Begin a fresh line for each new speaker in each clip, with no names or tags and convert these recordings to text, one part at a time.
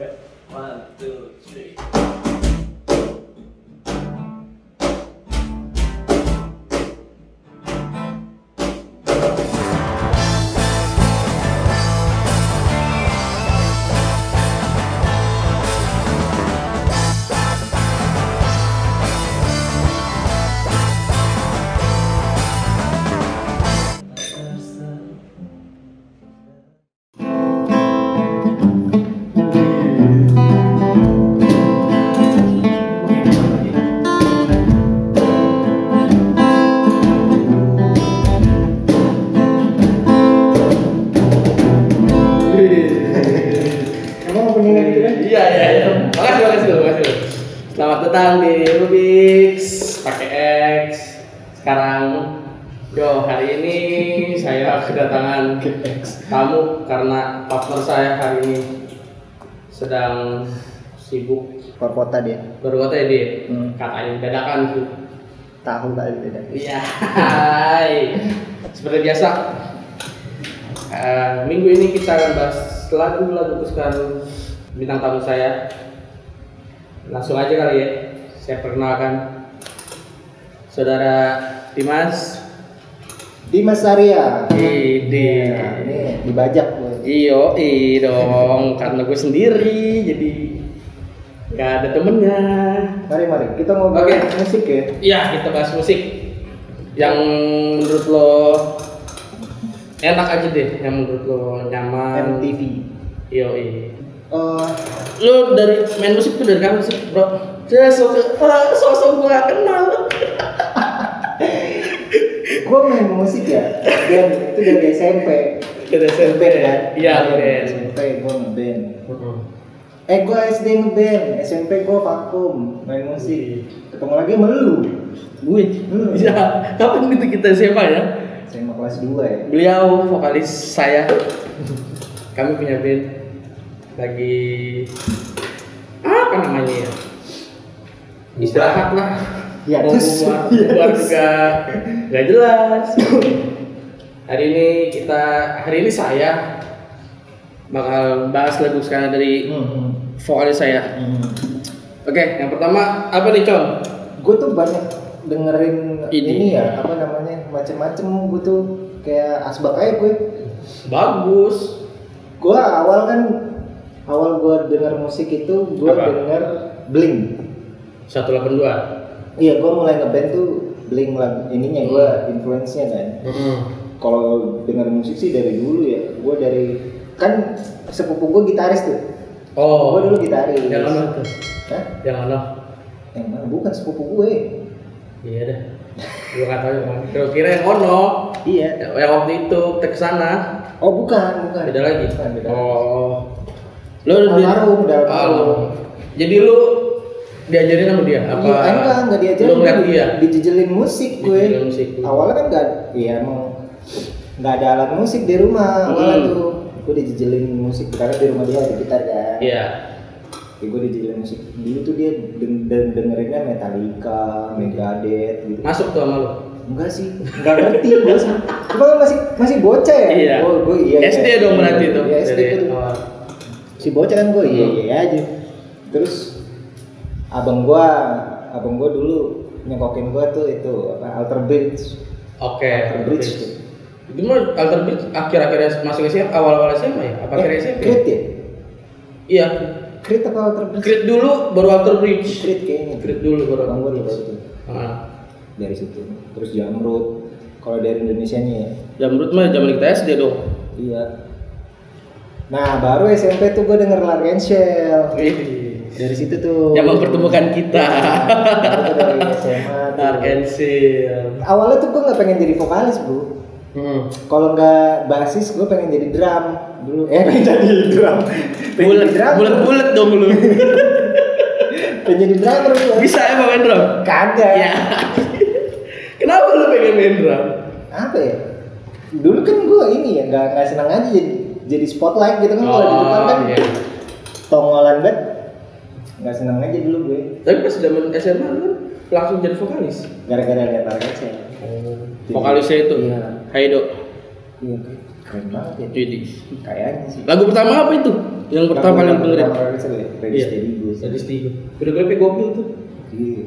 Okay. One, two, three.
Emang openingnya gitu kan?
Iya iya iya. Makasih makasih dulu, makasih dulu. Selamat datang di Rubix pakai X. Sekarang yo hari ini saya kedatangan tamu karena partner saya hari ini sedang sibuk
Keluar kota dia.
baru kata ya, dia
Hmm.
katanya dadakan tuh.
Tahu kali beda.
Iya. hai. Seperti biasa eh, minggu ini kita akan bahas lagu-lagu kesukaan bintang tamu saya. Langsung aja kali ya. Saya perkenalkan saudara Dimas.
Dimas
Iya,
Arya.
Ide.
Nah, ini dibajak gue.
Iyo, i dong. Karena gue sendiri jadi gak ada temennya.
Mari mari kita ngobrol
Oke.
musik ya.
Iya, kita bahas musik yang menurut lo enak aja deh, yang menurut lo nyaman.
MTV.
Yo, iya.
Eh,
Lo dari main musik tuh dari kapan sih, bro? Dia sok ah, sosok gue gak kenal.
gue main musik ya. Dan itu dari SMP.
Dari SMP
kan?
Iya,
Dari
band.
SMP gue ngeband. Eh gue SD ngeband, SMP gue vakum
Iya.
main musik. Ketemu lagi sama lu.
Gue. Iya. Kapan itu kita siapa ya?
SMA kelas 2 ya.
Beliau vokalis saya. Kami punya band lagi apa namanya ya? Istirahat lah.
Ya,
mau
terus-
keluar,
ya,
keluar
terus.
juga nggak jelas hari ini kita hari ini saya bakal bahas lagu sekarang dari
Hmm.
vokalis saya oke yang pertama apa nih con
gue tuh banyak dengerin
Ini.
ini, ya apa namanya macem-macem gue tuh kayak asbak aja gue
bagus
gue awal kan awal gue denger musik itu gue
Apa?
denger bling
182
iya gue mulai ngeband tuh bling lah ininya gue
Hmm.
influence-nya kan kalau denger musik sih dari dulu ya gue dari kan sepupu gue gitaris tuh
oh
gue dulu gitu. gitaris
yang ono tuh
Hah?
yang ono
yang mana bukan sepupu gue
iya dah gua kata ya, kira kira yang ono Ya,
iya
yang waktu itu kita kesana
oh bukan bukan
beda lagi
bukan, beda.
oh lo
Almarhum, udah
Ah, lu. jadi lu diajarin sama dia apa
Iya, enggak, enggak diajarin.
lu ngeliat
Gue
dia
Dijejelin musik gue.
Dijejelin musik.
Awalnya kan enggak, iya emang enggak ada alat musik di rumah awalnya
Hmm.
tuh. Gue dijejelin musik karena di rumah dia ada gitar kan.
iya
Ya, gue dijejelin musik. Dulu tuh dia deng- deng- dengerinnya Metallica, Megadeth gitu.
masuk tuh sama lu
Enggak sih, enggak ngerti gue sih. Cuma kan masih masih bocah ya.
Iya.
Gue, gue iya. iya.
SD dong berarti tuh
Iya, SD
Dari Oh.
tuh
awal.
si bocah kan gue iya
Hmm.
iya aja terus abang gua abang gua dulu nyekokin gua tuh itu apa alter bridge
oke
alter bridge tuh
itu mah alter bridge akhir-akhir masuk SMA awal-awal SMA ya apa akhir
Eh,
SMP
Creed ya
iya
Creed apa alter bridge
Creed dulu baru alter bridge
Creed kayaknya
Creed dulu baru alter
abang gua dulu
bridge
tuh
ah.
dari situ terus jamrut kalau dari Indonesia nya ya
Jamrut mah zaman kita SD dong
iya nah baru SMP tuh gua denger Lark and Shell
Wih.
dari situ tuh
yang mempertemukan kita
Baru tuh dari SMA tuh.
Arkensil
awalnya tuh gua nggak pengen jadi vokalis bro
hmm.
kalau nggak basis gue pengen jadi drum dulu eh pengen jadi drum pengen
bulat
jadi drum
bulat bulat dong lu
pengen jadi drummer gue
bisa emang main drum
kagak
ya kenapa lu pengen main drum
apa ya dulu kan gue ini ya nggak nggak senang aja jadi jadi spotlight gitu kan kalau di depan kan
iya.
tongolan banget nggak senang aja dulu gue
tapi pas zaman SMA lu langsung jadi vokalis Oh.
gara-gara lihat target sih
vokalisnya itu
Iya.
Haido
Iya. keren banget ya
Jadi.
kayaknya sih
Lagu pertama apa itu? Yang pertama yang dengerin.
Ready
Iya.
Steady Go
Jadi Stigo. Videografnya gokil tuh.
Iya.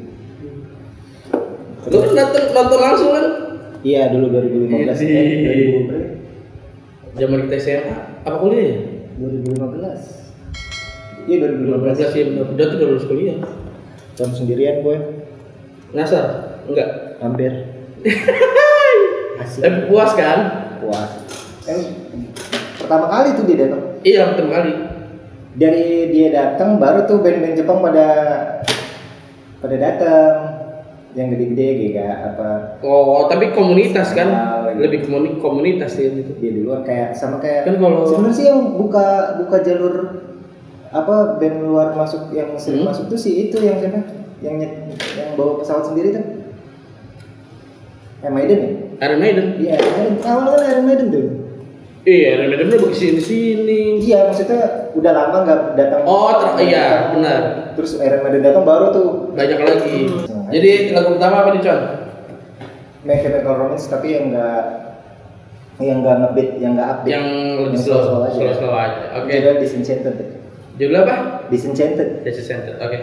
Lu kan dateng nonton langsung kan?
iya dulu 2015
Jadi.
eh,
Zaman kita SMA apa kuliah ya?
2015 iya
2015
2015
ya benar. Udah tuh udah lulus kuliah.
tahun sendirian gue
Ngasar? Enggak.
hampir
Tapi
Asik.
puas kan?
puas eh, pertama kali tuh dia datang
Iya pertama kali.
dari dia datang baru tuh band-band Jepang pada pada datang yang gede-gede GK apa
Oh, tapi komunitas kan?
Kenal, gitu.
Lebih komuni komunitas sih gitu. itu.
dia duluan Iya, kayak sama kayak
Kan kalau-
sebenarnya sih yang buka buka jalur apa band luar masuk yang sering
Hmm.
masuk tuh sih itu yang siapa yang nyet- yang bawa pesawat sendiri tuh Iron Maiden ya
Iron Maiden.
iya Iron Maiden awal kan Iron Maiden tuh
Iya, Iron Maiden udah kesini sini.
iya maksudnya udah lama nggak datang
Oh, ter- iya, benar.
terus Iron Maiden datang baru tuh
Banyak lagi. Jadi lagu pertama apa nih, Con?
My Chemical Romance tapi yang nggak yang nggak ngebeat yang nggak update
Yang lebih slow, slow slow aja. Oke.
Judulnya kan Disenchanted
Judul apa?
Disenchanted
Desi Center. Oke.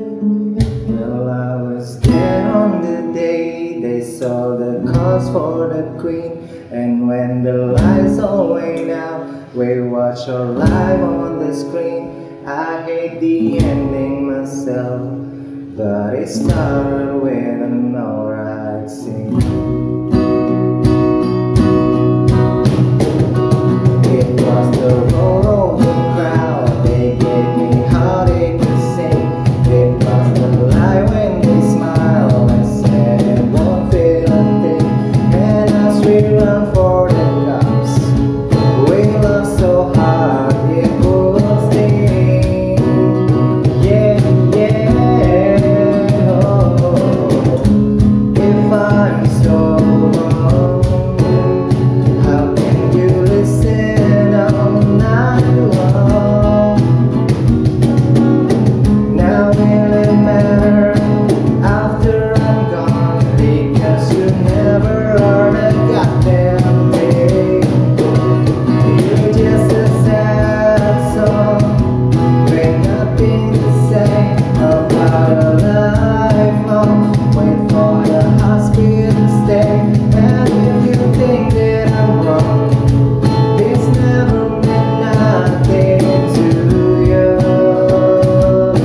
Well, I was there on the day they saw the cause for the queen. And when the lights all went out, we watched her live on the screen. I hate the ending myself, but it started with an alright scene. It was the roar of the crowd. They gave me heartache to sing. It was the lie when they smile and said it won't feel a thing. And as we run for the cups, we love so hard it will sting. Yeah, yeah, oh. If I'm so wrong, how can you listen all night long? Now will it matter after I'm gone? Because you never are a goddamn thing. You're just a sad song. There's nothing to say about a life long. Wait for the hospital stay. And if you think that I'm wrong, this never meant nothing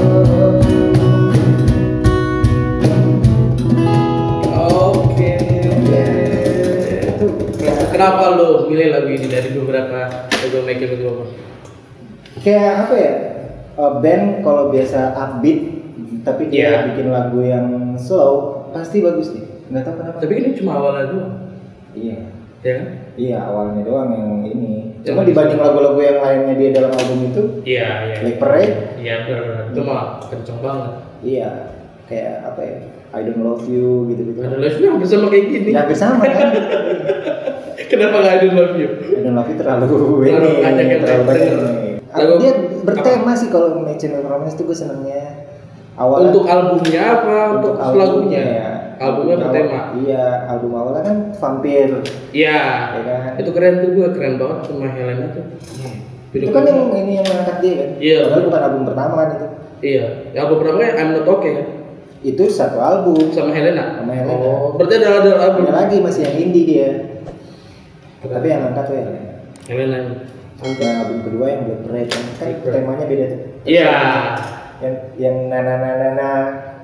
to
Oke.
you. Yeah.
Kenapa lo milih lagu ini dari beberapa lagu Make It Go?
kayak apa ya uh, band kalau biasa upbeat tapi dia
Iya.
bikin lagu yang slow pasti bagus nih nggak tahu kenapa
Tapi kan ini cuma awalnya doang,
iya
ya kan?
iya awalnya doang yang ini
Yang
cuma
bagus.
dibanding lagu-lagu yang lainnya dia dalam album itu
Iya, iya.
like Parade
Iya, benar. Itu mah kenceng banget.
iya kayak apa ya I don't love you gitu-gitu
Ada love you hampir sama kayak gini.
ya hampir sama kan
Kenapa nggak ada love you?
I don't love you terlalu
Terlalu
ini
banyak yang
terlalu banyak
terlalu-
ini.
Lagu-
dia bertema sih kalau My Chemical Romance tuh gue senengnya awalnya
Untuk albumnya apa? Untuk lagunya?
ya.
Albumnya
Album
bertema.
awal- iya album awalnya kan vampir
Iya.
ya kan
Itu keren tuh gue keren banget sama Helena tuh.
itu
Video
kan yang
klipnya.
ini yang mengangkat dia kan
Iya.
Padahal bukan album pertama kan itu
Iya. Yang beberapa kan I'm Not Okay kan?
itu satu album
sama Helena.
Sama Helena. Iya.
Oh, berarti ada ada album.
ada lagi masih yang indie dia tapi yang angkat tuh ya
Helena. ini.
yang album kedua yang Black Parade kan, kan
Black Parade.
temanya beda tuh
Iya.
yang yang na na na na na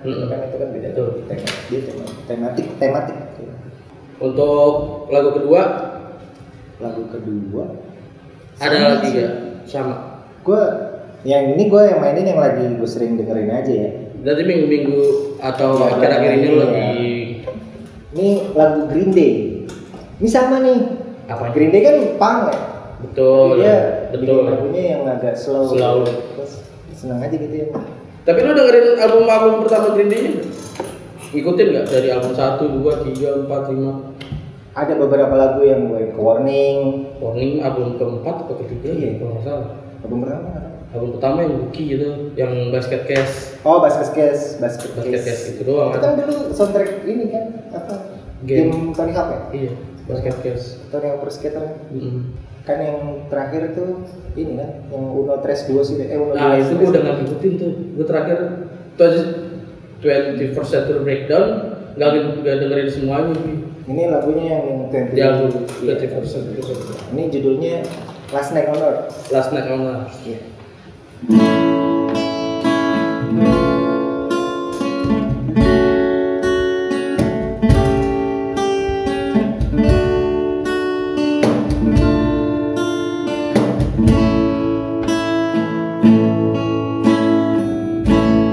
Mm-mm.
kan itu kan beda
Betul.
tuh tema dia tema tematik tematik
Untuk lagu kedua
lagu kedua
ada
sama
lagi
sih.
ya? Sama.
gue yang ini gue yang mainin yang lagi gue sering dengerin aja ya
Berarti minggu-minggu atau
Iya,
akhir-akhir ini
iya.
lagi
ini lagu Green Day ini sama nih
apa?
Green Day kan punk ya
Betul.
dia bikin
betul.
lagunya yang agak slow
Slow.
terus seneng aja gitu ya
Tapi lu dengerin album album pertama Green Day juga? ikutin nggak dari album 1, 2, 3, 4, 5
Ada beberapa lagu yang gue ke warning.
Warning album keempat atau ketiga
Iya.
ya kalau nggak salah
Album pertama. apa?
Album pertama yang Buki gitu, yang Basket Case
Oh, Basket Case, Basket Case.
Basket Case itu doang
Itu
kan?
kan dulu soundtrack ini kan apa?
Game.
Game, Tony Hawk ya?
Iya, Basket Case
Tony Hawk Pro Skater
Mm.
kan yang terakhir tuh ini kan yang Uno Tres Duo sih eh Uno
Nah
Duo
itu
Tres
gue udah
Duo.
nggak ngikutin tuh Gue terakhir tuh aja 21st Century Breakdown Nggak nggak dengerin semuanya sih
ini lagunya yang yang Twenty
Di album 21st Century Breakdown
ini judulnya Last Night on Earth
Last Night on Mars
Iya.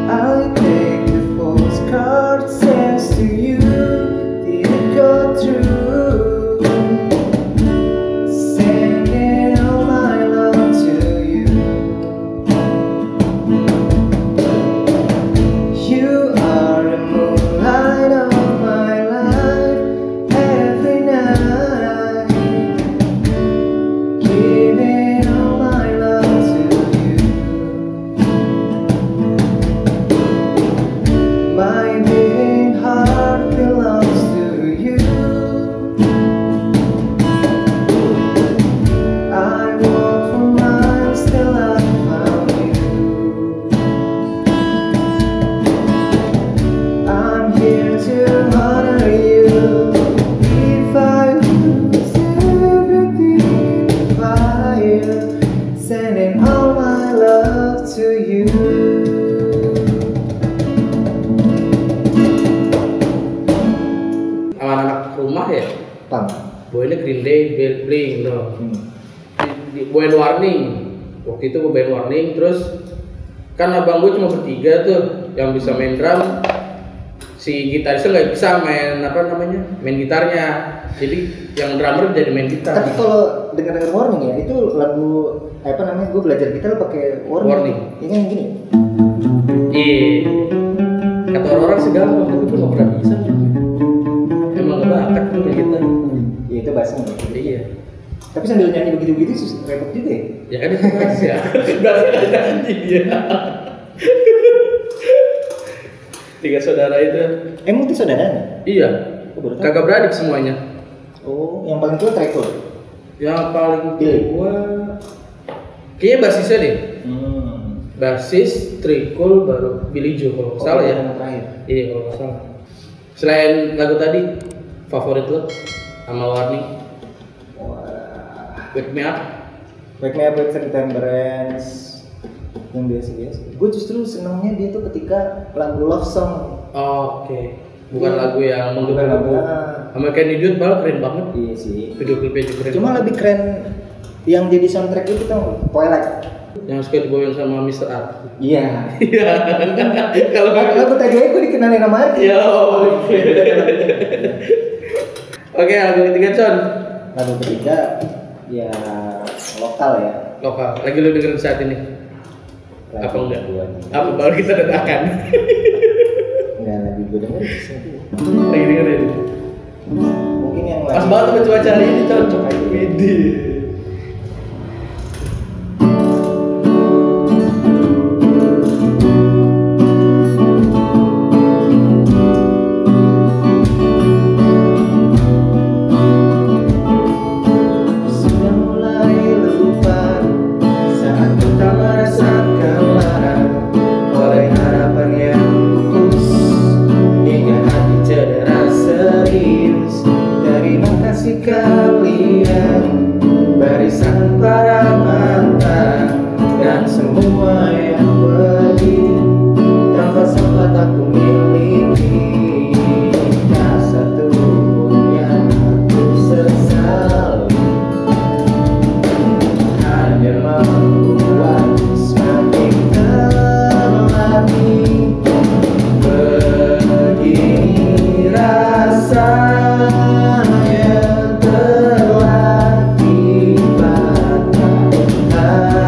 I take the postcard sends to you. Did it go through? Sending all my love to you. You are the moonlight of my life every night. Giving all my love to you. My beating heart belongs to you. I walk for miles till I found you. I'm here to honor you. If I lose everything, if I am sending all my love to you.
Sama anak rumah ya
Pam.
Boy ini Green Day, Bel- Blink tuh Di- di band warning waktu itu gue band warning terus kan abang gue cuma bertiga tuh yang bisa main drum si gitarisnya nggak bisa main apa namanya main gitarnya jadi yang drummer jadi main gitar
Tapi kalau dengar dengar warning ya, itu lagu apa namanya? Gue belajar gitar pakai warning.
Warning.
Ini yang gini.
iya kata orang-orang sih gampang tapi gue nggak pernah bisa emang gak bakat gue main gitar
Ya itu bahasa
Jadi iya
Tapi sambil nyanyi begitu-begitu sus- repot juga ya.
ya kan itu bass ya bass kan nyanyi dia tiga saudara itu
Emang itu saudaranya?
iya
Gua baru tahu.
kakak beradik semuanya
Oh, yang paling tua Treko.
yang paling
Iya.
tua kayaknya basisnya deh
Hmm.
basis trikul baru Billy Joe kalau nggak salah ya
Oh, Yang terakhir.
iya kalau nggak salah selain lagu tadi favorit lo sama Warning
Wah.
Wake Me Up
Wake Me Up with September Ends. yang biasa-biasa. Gue justru senangnya dia tuh ketika lagu love song.
oh, oke bukan
Iya.
lagu yang
Bukan lagu.
menggebu-gebu sama Kenny Dude malah keren banget
Iya sih.
video klipnya juga keren
Cuma lebih keren yang jadi soundtrack itu tuh Twilight.
yang suka dibawain sama Mr. Art
Iya.
iya kalau
Kalau
nggak-
aku TGI aku dikenalin nama Arki.
Yo, oke. Oke, lagu ketiga Con.
Lagu ketiga ya lokal ya.
Lokal. Lagi lu dengerin saat ini?
Lagu
Apa enggak?
gua nih.
Apa baru kita datangkan?
Enggak lagi gue denger di sini.
Lagi dengerin.
Mungkin yang
Pas
lagi-
banget sama cuaca hari ini, Con. Widi.
Sudah mulai lupa saat pertama rasakan larang oleh harapan yang kukus hingga hati cedera serius. Terima kasih kalian barisan para mantan dan semua yang pergi tanpa sempat aku miliki tak satu pun yang aku sesali hanya membuat semakin terlatih begini rasanya telah tiba hati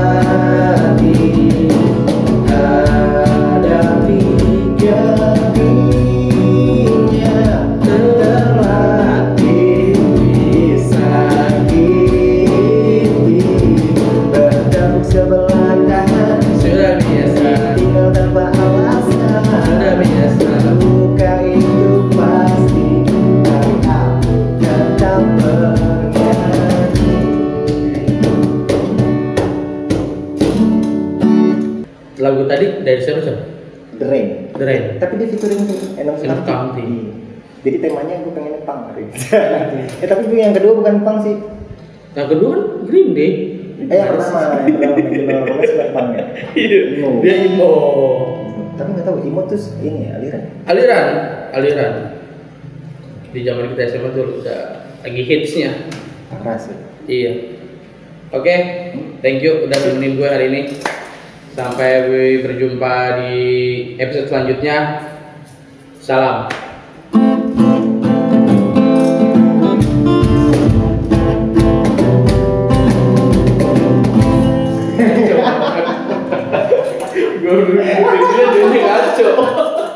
hadapi gelap
tadi dari siapa siapa?
The Rain.
The Rain.
Tapi dia featuring Enom
Enom County.
Iya. Jadi temanya gue pengen punk hari ini. eh tapi yang kedua bukan punk sih.
Yang kedua kan Green Day.
Eh yang pertama, yang pertama, yang pertama, yang pertama, punk ya.
Iya.
Imo.
Dia emo.
Tapi nggak tahu emo tuh ini ya aliran.
Aliran, aliran. Di zaman kita SMA tuh udah lagi hitsnya.
Parah sih.
Iya. Oke, thank you udah nemenin gue hari ini. Sampai berjumpa di episode selanjutnya. Salam. Gue udah dia jadi ngaco.